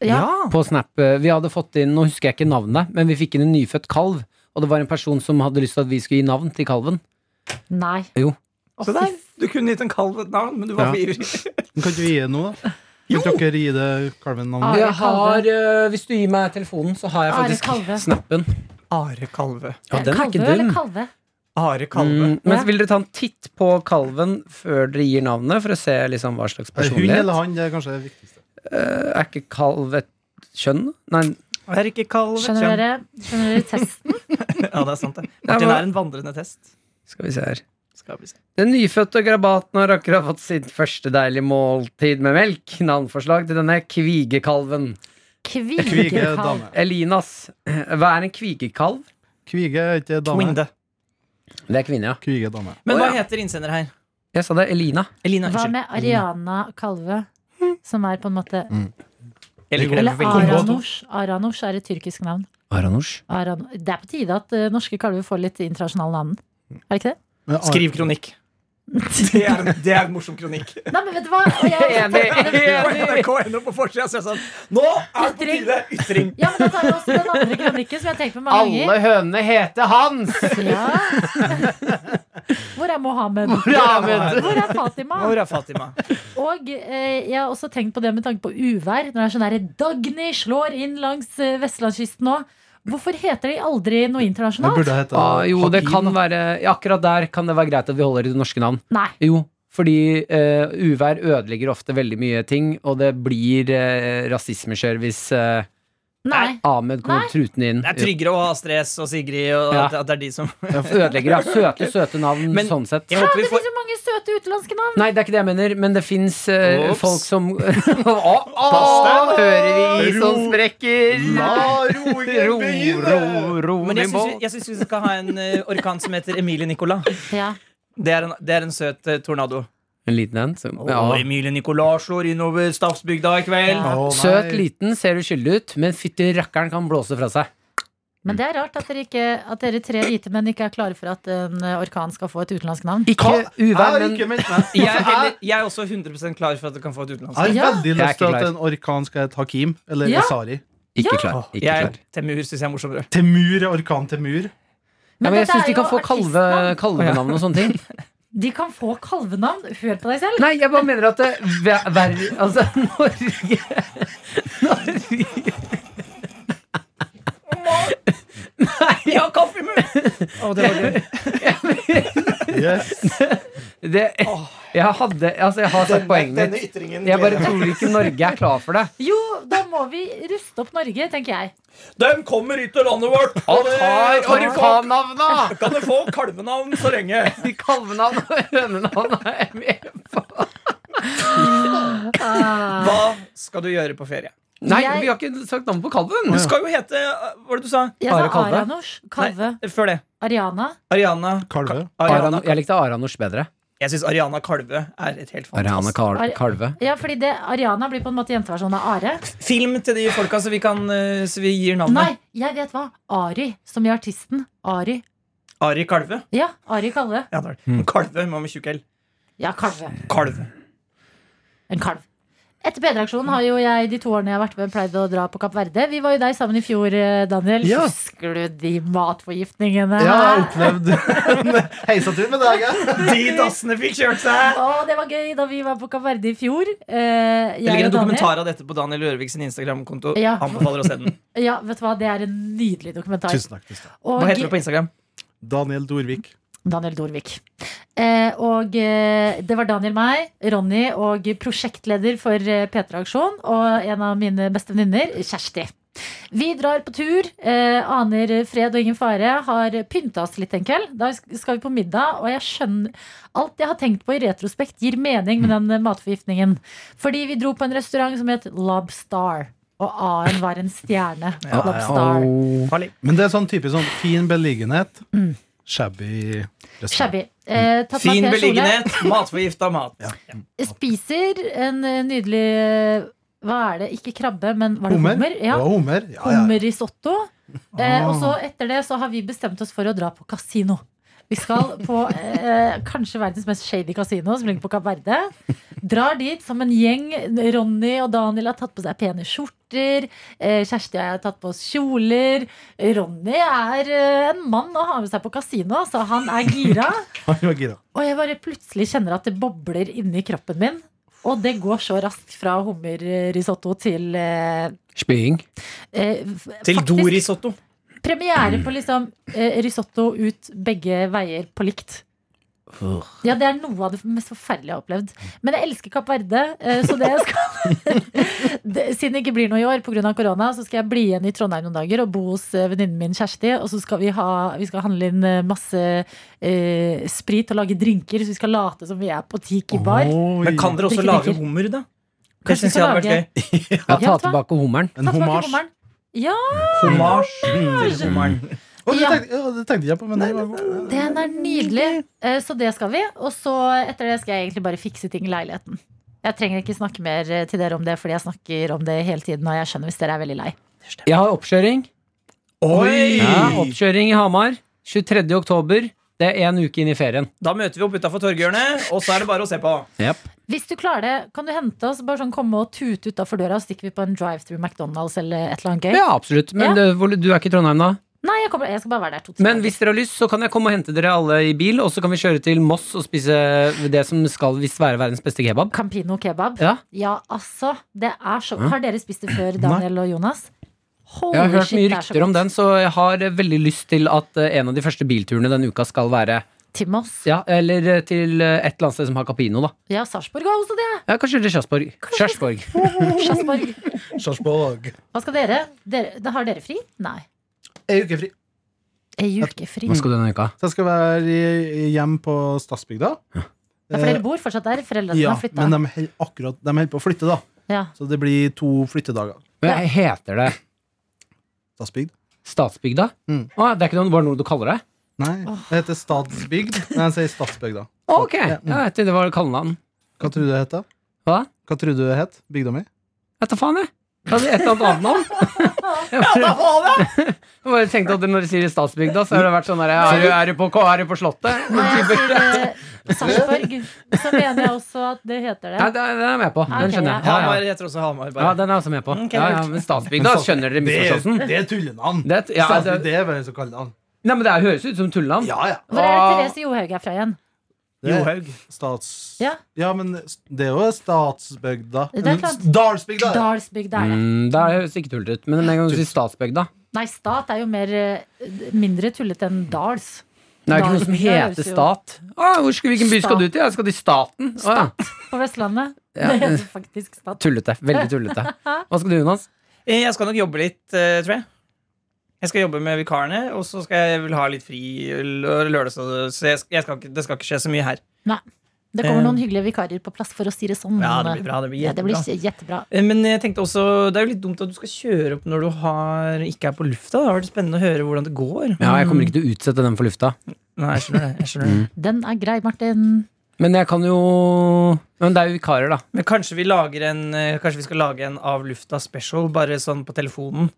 Speaker 2: Ja.
Speaker 4: På Snap. eh, Vi hadde fått inn, nå husker jeg ikke navnet, men vi fikk inn en nyfødt kalv. Og det var en person som hadde lyst til at vi skulle gi navn til kalven.
Speaker 2: Nei.
Speaker 4: Jo.
Speaker 2: Å,
Speaker 6: Så der,
Speaker 2: fy
Speaker 6: du kunne gitt en kalv et navn, men du var
Speaker 4: Ja.
Speaker 6: for ivrig.
Speaker 3: Men Kan ikke vi gi det nå, da? Kan dere gi det
Speaker 2: Are
Speaker 3: kalven navnet?
Speaker 2: Jeg har,
Speaker 4: eh, hvis du gir meg telefonen, så har
Speaker 2: jeg Are faktisk Kalve.
Speaker 4: snappen.
Speaker 6: Are Kalve.
Speaker 4: Ja, den er
Speaker 2: kalve
Speaker 4: ikke
Speaker 2: eller
Speaker 4: dum.
Speaker 2: kalve?
Speaker 6: Are Kalve.
Speaker 4: Mm, men så vil dere ta en titt på kalven før dere gir navnet, for å se liksom hva slags
Speaker 3: Er det Hund eller
Speaker 4: personlighet?
Speaker 3: han? Det er kanskje det viktigste.
Speaker 4: Eh, Er ikke kalv et kjønn? Nei,
Speaker 6: Er ikke Kalve
Speaker 2: Skjønner dere, skjønner dere testen?
Speaker 6: Ja, det er sant, det.
Speaker 4: Ja,
Speaker 6: Martin
Speaker 4: men-
Speaker 6: er en vandrende test.
Speaker 4: skal vi se her.
Speaker 6: Skal vi se.
Speaker 4: Den nyfødte grabaten har akkurat fått sitt første deilige måltid med melk. Navnforslag til denne kvigekalven.
Speaker 3: Kvige er
Speaker 2: Kvigekalv.
Speaker 3: dame.
Speaker 4: Elinas. Hva er en kvigekalv?
Speaker 3: Kvige er ikke dame.
Speaker 6: Winde.
Speaker 4: Det er kvinne, ja.
Speaker 3: Kvige er dame.
Speaker 6: Men
Speaker 4: Å,
Speaker 6: hva
Speaker 4: ja.
Speaker 6: heter innsender her?
Speaker 4: Jeg sa det. Elina.
Speaker 6: Elina,
Speaker 2: Hva
Speaker 6: unnskyld.
Speaker 2: med Ariana Kalve? Som er på en måte
Speaker 6: Jeg liker det
Speaker 2: Eller
Speaker 6: veldig godt.
Speaker 2: Aranosh. Aranosh er et tyrkisk navn.
Speaker 4: Aranush.
Speaker 2: Aran det er på tide at eh, norske kalver får litt internasjonale navn. Er det ikke det?
Speaker 3: Men Are-
Speaker 6: Skriv kronikk. Det er, det er en morsom kronikk.
Speaker 2: Nei, men vet du hva? Og jeg-
Speaker 4: Enig,
Speaker 6: På
Speaker 4: enig.
Speaker 6: NRK.no på forsida ser jeg sånn Nå er det på
Speaker 2: Ytring.
Speaker 6: tide ytring!
Speaker 2: Ja, men da tar vi også den andre kronikken som jeg har tenkt på mange ganger.
Speaker 4: Alle hønene heter Hans!
Speaker 2: Ja. Hvor er Mohammed?
Speaker 4: Hvor er Ahmed?
Speaker 2: Hvor er Fatima?
Speaker 6: Hvor er Fatima?
Speaker 2: Og eh, jeg har også tenkt på det med tanke på uvær. Når det er sånn der, Dagny slår inn langs eh, vestlandskysten nå. Hvorfor heter de aldri noe
Speaker 3: Det
Speaker 2: internasjonalt?
Speaker 3: burde hete
Speaker 4: Ah, jo, det
Speaker 3: Hakim,
Speaker 4: kan
Speaker 3: da.
Speaker 4: være ja, Akkurat der kan det være greit at vi holder i det norske navn.
Speaker 2: Nei.
Speaker 4: Jo, fordi eh, uvær ødelegger ofte veldig mye ting, og det blir eh, rasismekjør hvis eh,
Speaker 2: Nei.
Speaker 4: Ahmed kommer trutende inn.
Speaker 6: Det er tryggere å ha Astrid S og Sigrid og
Speaker 4: Ja.
Speaker 6: at, at det er de som
Speaker 4: Ja, Ødelegger, ja. Søte, søte navn,
Speaker 6: Men-
Speaker 4: sånn sett.
Speaker 6: Jeg håper
Speaker 2: Det
Speaker 6: vi får
Speaker 2: finnes jo mange søte utenlandske navn.
Speaker 4: Nei, det er ikke det jeg mener, men det fins eh,
Speaker 6: Ops.
Speaker 4: folk som Å, å, hører vi som sprekker?
Speaker 3: Ah,
Speaker 4: Ro, ro, ro,
Speaker 6: Men jeg
Speaker 4: min
Speaker 6: syns vi,
Speaker 4: båt.
Speaker 6: jeg syns vi skal ha en eh, orkan som heter Emilie Nicolas.
Speaker 2: Ja.
Speaker 6: Det er en, det er en søt eh, tornado.
Speaker 4: En liten en. Som,
Speaker 6: Og
Speaker 4: ja.
Speaker 6: Emilie Nicolas slår innover Stavsbygda i kveld.
Speaker 3: Å, nei.
Speaker 4: Søt liten, ser uskyldig ut, men fytti rakkeren kan blåse fra seg.
Speaker 2: Men det er rart at dere, ikke, at dere tre hvite menn ikke er klare for at en eh, orkan skal få et utenlandsk navn.
Speaker 4: Ikke
Speaker 3: Hva? Jeg
Speaker 4: uvær,
Speaker 3: har
Speaker 4: men
Speaker 3: ikke meldt meg.
Speaker 6: Jeg er,
Speaker 3: Jeg-
Speaker 6: heller, jeg er også 100 klar for at du kan få et utenlandsk.
Speaker 3: Jeg har
Speaker 2: Ja.
Speaker 3: veldig
Speaker 4: Jeg er
Speaker 3: lyst til
Speaker 4: ikke
Speaker 3: at
Speaker 4: klar.
Speaker 3: en orkan skal hete Hakim eller
Speaker 2: Ja.
Speaker 3: Esari.
Speaker 4: Ikke
Speaker 2: Ja.
Speaker 4: klar. Ikke
Speaker 6: Jeg
Speaker 4: klar.
Speaker 6: er Temur syns jeg er morsommere.
Speaker 3: Temur er orkan Temur.
Speaker 4: Ja, men jeg
Speaker 2: dette
Speaker 4: syns
Speaker 2: er
Speaker 4: de kan
Speaker 2: jo
Speaker 4: få kalve,
Speaker 2: artistnavn.
Speaker 4: kalvenavn og sånne ting.
Speaker 2: De kan få kalvenavn. Hør på deg selv.
Speaker 4: Nei, jeg bare mener at det, ver, ver, altså, Norge Norge
Speaker 6: Jeg har kaffe i munnen! Å, det var gøy.
Speaker 3: Yes.
Speaker 4: det, Jeg hadde Altså, jeg har sett poenget mitt.
Speaker 7: ytringen
Speaker 4: Jeg bare tror ikke Norge er klar for det.
Speaker 2: Jo, da må vi ruste opp Norge, tenker jeg.
Speaker 6: De kommer hit til landet vårt!
Speaker 4: Og
Speaker 6: det-
Speaker 4: tar
Speaker 6: kan de få-
Speaker 4: orkannavna!
Speaker 6: Kan du få kalvenavn så lenge?
Speaker 4: De kalvenavn og hønenavn er jeg med på.
Speaker 6: Hva skal du gjøre på ferie?
Speaker 4: Nei,
Speaker 2: Jeg-
Speaker 4: vi har ikke sagt navn på kalven.
Speaker 6: Du skal jo hete uh, Hva var det du sa?
Speaker 2: Jeg
Speaker 4: Are
Speaker 2: sa
Speaker 4: Kalve?
Speaker 2: Aranosh. Kalve.
Speaker 6: Nei, før det.
Speaker 2: Ariana.
Speaker 6: Ariana
Speaker 3: Kalve.
Speaker 6: Ka- Ariana,
Speaker 4: Aran, jeg likte Aranors bedre.
Speaker 6: jeg syns Ariana Kalve er et helt
Speaker 4: Arana
Speaker 6: fantastisk
Speaker 4: Kal
Speaker 2: Ar-
Speaker 4: Kalve.
Speaker 2: Ja, fordi det, Ariana blir på en måte jenteversjonen av Are.
Speaker 6: Film til de folka så vi, kan, uh, så vi gir
Speaker 2: Nei,
Speaker 6: navnet.
Speaker 2: jeg vet hva. Ari, som i artisten. Ari.
Speaker 6: Ari Kalve.
Speaker 2: Ja, Ari Kalve.
Speaker 6: Ja, det er det. Men Kalve må med tjukk L.
Speaker 2: Ja, kalve.
Speaker 6: Kalve.
Speaker 2: En kalv. Etter P3-aksjonen har jo jeg de to årene jeg har vært med, pleid å dra på Kapp Verde. Vi var jo der sammen i fjor, eh, Daniel.
Speaker 3: Ja.
Speaker 2: Husker du de matforgiftningene?
Speaker 3: Ja, jeg opplevde en heisatur med deg. jeg.
Speaker 6: De dassene fikk kjørt seg!
Speaker 2: Å, det var gøy da vi var på Kapp Verde i fjor. Eh,
Speaker 6: Det ligger
Speaker 2: og
Speaker 6: en
Speaker 2: Daniel.
Speaker 6: dokumentar av dette på Daniel Rørvik sin Instagram-konto.
Speaker 2: Ja.
Speaker 6: Anbefaler å se den.
Speaker 2: Ja, vet du hva, det er en nydelig dokumentar.
Speaker 3: Tusen takk. Tusen takk.
Speaker 2: Og
Speaker 6: Hva heter du på Instagram?
Speaker 3: Daniel Dorvik.
Speaker 2: Daniel Dorvik. Eh, og eh, det var Daniel, meg, Ronny og prosjektleder for eh, P3-aksjon og en av mine beste venninner, Kjersti. Vi drar på tur, eh, aner fred og ingen fare, har pynta oss litt en kveld. Da skal vi på middag, og jeg skjønner Alt jeg har tenkt på i retrospekt, gir mening med den eh, matforgiftningen. Fordi vi dro på en restaurant som het Lobstar. Og A-en var en stjerne. Lobstar.
Speaker 6: Farlig.
Speaker 3: Men det er sånn typisk sånn fin beliggenhet. Shabby restaurant.
Speaker 2: Shabby. Eh, tatt meg til
Speaker 6: Fin
Speaker 2: kjole.
Speaker 6: beliggenhet, matforgifta mat.
Speaker 2: Spiser en eh, nydelig eh, Hva er det? Ikke krabbe, men var det hummer?
Speaker 3: Hummer?
Speaker 2: Ja.
Speaker 3: Ja, hummer. Ja, Ah. ja.
Speaker 2: Hummerrisotto. Eh, og så etter det så har vi bestemt oss for å dra på kasino. Vi skal på eh, kanskje verdens mest shady kasino, som ligger på Kapp Verde. Drar dit som en gjeng. Ronny og Daniel har tatt på seg pene skjorter. Eh, Kjersti og jeg har tatt på oss kjoler. Ronny er eh, en mann å ha med seg på kasino, så han er gira.
Speaker 3: Han var gira.
Speaker 2: Og jeg bare plutselig kjenner at det bobler inni kroppen min. Og det går så raskt fra hummerrisotto til eh,
Speaker 4: Spying.
Speaker 2: eh,
Speaker 6: Til
Speaker 2: faktisk
Speaker 6: dorisotto.
Speaker 2: Premiere på liksom eh, risotto ut begge veier på likt. Ja, det er noe av det mest forferdelige jeg har opplevd. Men jeg elsker Kapp Verde, eh, så det jeg skal det, Siden det ikke blir noe i år pga. korona, så skal jeg bli igjen i Trondheim noen dager og bo hos eh, venninnen min Kjersti. Og så skal vi, ha, vi skal handle inn eh, masse eh, sprit og lage drinker, så vi skal late som vi er på Tiki bar.
Speaker 3: Oi.
Speaker 6: Men kan dere også
Speaker 2: Drikke,
Speaker 6: lage
Speaker 2: drikke.
Speaker 6: hummer, da? Det
Speaker 2: Kanskje vi
Speaker 6: syns jeg
Speaker 2: skal
Speaker 6: hadde
Speaker 2: lage-
Speaker 4: Ja,
Speaker 6: vært gøy.
Speaker 2: Ja,
Speaker 4: ta
Speaker 2: vet du hva?
Speaker 4: tilbake hummeren.
Speaker 3: En
Speaker 2: Ta tilbake
Speaker 3: hommage.
Speaker 2: hummeren. Ja,
Speaker 6: Hommage til hummeren.
Speaker 3: Å, det
Speaker 2: Ja.
Speaker 3: tenkte- ja, det tenkte jeg på, men det var god.
Speaker 2: den er nydelig. Eh, Så det skal vi. Og så etter det skal jeg egentlig bare fikse ting i leiligheten. Jeg trenger ikke snakke mer eh, til dere om det, fordi jeg snakker om det hele tiden. Og jeg skjønner hvis dere er veldig lei.
Speaker 4: Jeg har oppkjøring.
Speaker 6: Oi!
Speaker 4: Ja, oppkjøring i Hamar. 23. oktober. Det er en uke inn i ferien.
Speaker 6: Da møter vi opp utafor torghjørnet, og så er det bare å se på.
Speaker 2: Hvis du klarer det, kan du hente oss? Bare sånn komme og tute utafor døra, og stikker vi på en drive-through McDonald's eller et eller annet gøy?
Speaker 4: Ja, absolutt. Men det, hvor- du er ikke i Trondheim da?
Speaker 2: Nei, jeg, kommer, jeg skal bare være der to-tre
Speaker 4: Men hvis dere har lyst, så kan jeg komme og hente dere alle i bil, og så kan vi kjøre til Moss og spise det som skal visst være verdens beste kebab.
Speaker 2: Campino kebab.
Speaker 4: Ja,
Speaker 2: Ja, altså. Det er så
Speaker 4: Ja.
Speaker 2: Har dere spist det før, Daniel og Jonas? Holy
Speaker 4: jeg har hørt
Speaker 2: shit,
Speaker 4: mye
Speaker 2: det er så
Speaker 4: rykter om
Speaker 2: godt.
Speaker 4: den, så jeg har eh, veldig lyst til at eh, en av de første bilturene denne uka skal være
Speaker 2: Til Moss.
Speaker 4: Ja, eller eh, til eh, et eller annet sted som har Capino, da.
Speaker 2: Ja, Sarpsborg har også det.
Speaker 4: Ja, kanskje til Kjørsborg. Kjørsborg.
Speaker 2: Sarpsborg.
Speaker 3: Sarpsborg.
Speaker 2: Hva skal dere? dere? da Har dere fri? Nei.
Speaker 3: Ei uke fri.
Speaker 2: Ei uke fri.
Speaker 4: Hva skal du denne uka?
Speaker 3: Så jeg skal være i- hjem på Stadsbygda. Eh,
Speaker 2: Ja, for dere bor fortsatt der? Foreldrene
Speaker 3: Ja,
Speaker 2: har flytta?
Speaker 3: men eh, de held- akkurat, de holder på å flytte, da.
Speaker 2: Ja.
Speaker 3: Så det blir to flyttedager.
Speaker 4: Men heter det
Speaker 3: Stadsbygd?
Speaker 4: Statsbygda?
Speaker 3: Mm.
Speaker 4: Å, det er ikke noe, bare noe du kaller det?
Speaker 3: Nei, det heter Stadsbygd. Nei, jeg sier Stadsbygda.
Speaker 4: Ok,
Speaker 3: Ja,
Speaker 2: mm.
Speaker 4: ja, vet du, det var kallenavn.
Speaker 3: Hva tror du det het, da?
Speaker 4: Hva da?
Speaker 3: Hva tror du det het? Bygda mi?
Speaker 4: Jeg tar faen, jeg. Jeg hadde et eller annet annet navn. Jeg bare, jeg bare tenkte at når de sier Statsbygda, så har det vært sånn der Er du, er du, på, er du på Slottet?
Speaker 2: Når jeg sier eh, Sarpsborg, så mener jeg også at det heter
Speaker 4: Nei,
Speaker 2: det.
Speaker 4: den den er jeg med på. Den
Speaker 2: Ok,
Speaker 4: skjønner jeg. Ja,
Speaker 6: Hamar
Speaker 4: ja.
Speaker 6: heter også Hamar.
Speaker 4: ja,
Speaker 6: Bare.
Speaker 4: den er jeg også med på.
Speaker 6: Ok,
Speaker 4: Ja, ja,
Speaker 6: kult.
Speaker 4: men Statsbygda, skjønner dere misforståelsen?
Speaker 3: Det er tullenavn!
Speaker 4: Det, er- ja,
Speaker 3: Statsbygd,
Speaker 4: det,
Speaker 3: det er vel så kallet han.
Speaker 4: nei, men det er- høres ut som tullenavn.
Speaker 3: Ja, ja.
Speaker 2: Hvor er det Therese Johaug er fra igjen?
Speaker 3: Det er
Speaker 6: Johaug.
Speaker 3: Stats...
Speaker 2: Ja.
Speaker 3: men det er jo statsbygda.
Speaker 2: Det er klart.
Speaker 3: Dalsbygda! ja.
Speaker 2: Dalsbygda er det.
Speaker 4: Mm, det høres ikke tullete ut. Men med en gang du sier Statsbygda
Speaker 2: Nei, stat er jo mer, eh, mindre tullete enn dals.
Speaker 4: Det er jo ikke noe som
Speaker 2: Dalsbygda
Speaker 4: heter
Speaker 2: høres jo-
Speaker 4: stat. Å, hvor skal, hvilken by skal du til? Jeg skal til staten. Å, ja.
Speaker 2: På Vestlandet.
Speaker 4: Ja.
Speaker 2: Det heter faktisk stat.
Speaker 4: Tullete. Veldig tullete. Hva skal du, Jonas?
Speaker 6: Eh, Jeg skal nok jobbe litt, eh, tror jeg. Jeg skal jobbe med vikarene, og så skal jeg vel ha litt fri lø- lørdag. Så så jeg, sk- jeg skal ikke, det skal ikke skje så mye her.
Speaker 2: Det kommer
Speaker 6: Eh.
Speaker 2: noen hyggelige vikarer på plass, for å si det sånn.
Speaker 6: Ja, det
Speaker 2: men,
Speaker 6: blir bra. Det blir
Speaker 2: Ja, det blir
Speaker 6: kjempebra.
Speaker 2: jettebra.
Speaker 6: Eh, Men jeg tenkte også, det er jo litt dumt at du skal kjøre opp når du har, ikke er på lufta. Det har vært spennende å høre hvordan det går.
Speaker 4: Ja, jeg kommer ikke til å utsette den for lufta.
Speaker 6: Nei, jeg skjønner det. Jeg skjønner det.
Speaker 2: Den er grei, Martin.
Speaker 4: Men jeg kan jo Men det er jo vikarer, da.
Speaker 6: Men kanskje vi, lager en, eh, kanskje vi skal lage en av lufta special, bare sånn på telefonen.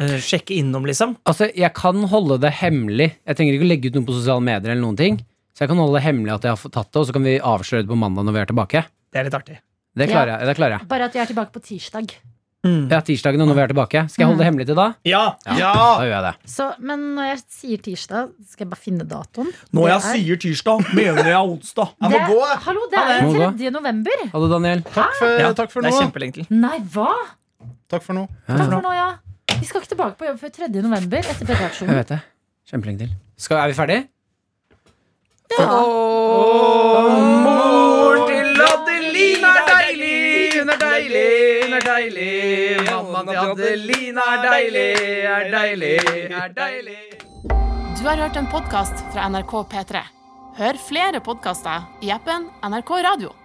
Speaker 6: Eh, sjekke innom, liksom.
Speaker 4: Altså, jeg kan holde det hemmelig. Jeg trenger ikke å legge ut noe på sosiale medier eller noen ting. Så jeg kan holde det hemmelig at jeg har fått tatt det, og så kan vi avsløre det på mandag når vi er tilbake.
Speaker 6: Det er litt artig.
Speaker 4: Det
Speaker 2: Ja.
Speaker 4: klarer jeg. Det klarer jeg.
Speaker 2: Bare at vi er tilbake på tirsdag.
Speaker 6: Mm.
Speaker 4: Ja, tirsdagen når vi er tilbake. Skal jeg holde det
Speaker 2: Mm.
Speaker 4: hemmelig til da?
Speaker 6: Ja!
Speaker 4: Da gjør jeg det.
Speaker 2: Så, men når jeg sier tirsdag, skal jeg bare finne datoen.
Speaker 6: Når
Speaker 2: Det er-
Speaker 6: sier tirsdag, mener jeg onsdag.
Speaker 3: Jeg må
Speaker 2: det, er- Ah.
Speaker 3: gå, jeg.
Speaker 2: Hallo, det er
Speaker 4: Må
Speaker 2: jo
Speaker 4: gå.
Speaker 2: 3. november.
Speaker 4: Hallo, Daniel.
Speaker 3: Takk for,
Speaker 6: Ja,
Speaker 3: takk for
Speaker 6: det
Speaker 3: nå.
Speaker 6: er kjempelenge til.
Speaker 2: Nei, hva?
Speaker 3: Takk for nå.
Speaker 2: Takk for nå, ja. Vi skal ikke tilbake på jobb før 3. november etter
Speaker 4: Jeg
Speaker 2: preparasjonen.
Speaker 4: vet det. Kjempelenge til. Skal, er vi ferdige?
Speaker 2: Ja.
Speaker 4: Moren til Adelina er deilig, hun er deilig, hun er deilig. Mammaen til Adelina er deilig, er deilig, er deilig.
Speaker 1: Du har hørt en podkast fra NRK P3. Hør flere podkaster i appen NRK Radio.